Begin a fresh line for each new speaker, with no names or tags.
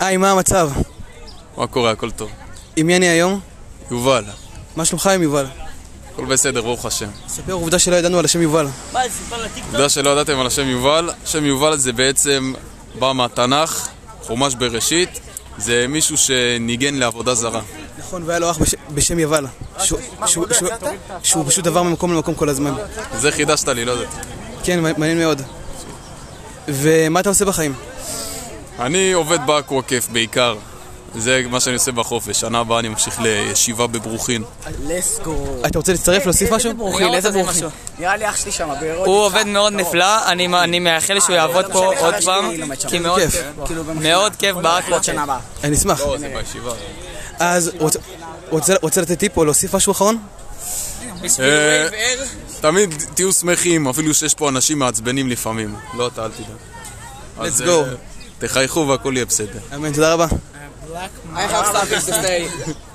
היי, מה המצב?
מה קורה? הכל טוב.
עם מי אני היום?
יובל,
מה שלומך עם יובל?
הכל בסדר, ברוך השם.
ספר עובדה שלא ידענו על השם יובל.
מה, סיפר לטיקטוק?
עובדה שלא ידעתם על השם יובל, השם יובל זה בעצם בא מהתנ"ך, חומש בראשית, זה מישהו שניגן לעבודה זרה.
נכון, והיה לו אח בש... בשם יובל. שהוא- שהוא- שהוא- שהוא פשוט עבר ממקום למקום כל הזמן.
זה חידשת לי, לא ידעתי.
כן, מע- מעניין מאוד. ומה אתה עושה בחיים?
אני עובד באקוואקף בעיקר. זה מה שאני עושה בחופש, שנה הבאה אני ממשיך לישיבה בברוכין.
לסקו.
אתה רוצה להצטרף, להוסיף משהו?
אוקיל, איזה
זה
ברוכים.
משהו. נראה לי אח שלי שם, בארות.
הוא עובד מאוד נפלא, אני מ- אני מאחל
אה,
שהוא יעבוד פה
משנה,
עוד
חדש
פעם,
שלי לומד שם.
כי מאוד
כיף.
כיף.
כאילו במכינה.
מאוד כיף באקוואט.
שנה הבאה.
אני אשמח.
לא, זה בישיבה.
אז רוצה- רוצה- רוצה לתת טיפ או להוסיף משהו אחרון?
אה, תמיד תהיו שמחים, אפילו שיש פה אנשים מעצבנים לפעמים. לא, אתה אל תדאג. אז,
Let's
אה,
go.
תחייכו והכל יהיה בסדר.
אמן, תודה רבה.
I have something to say.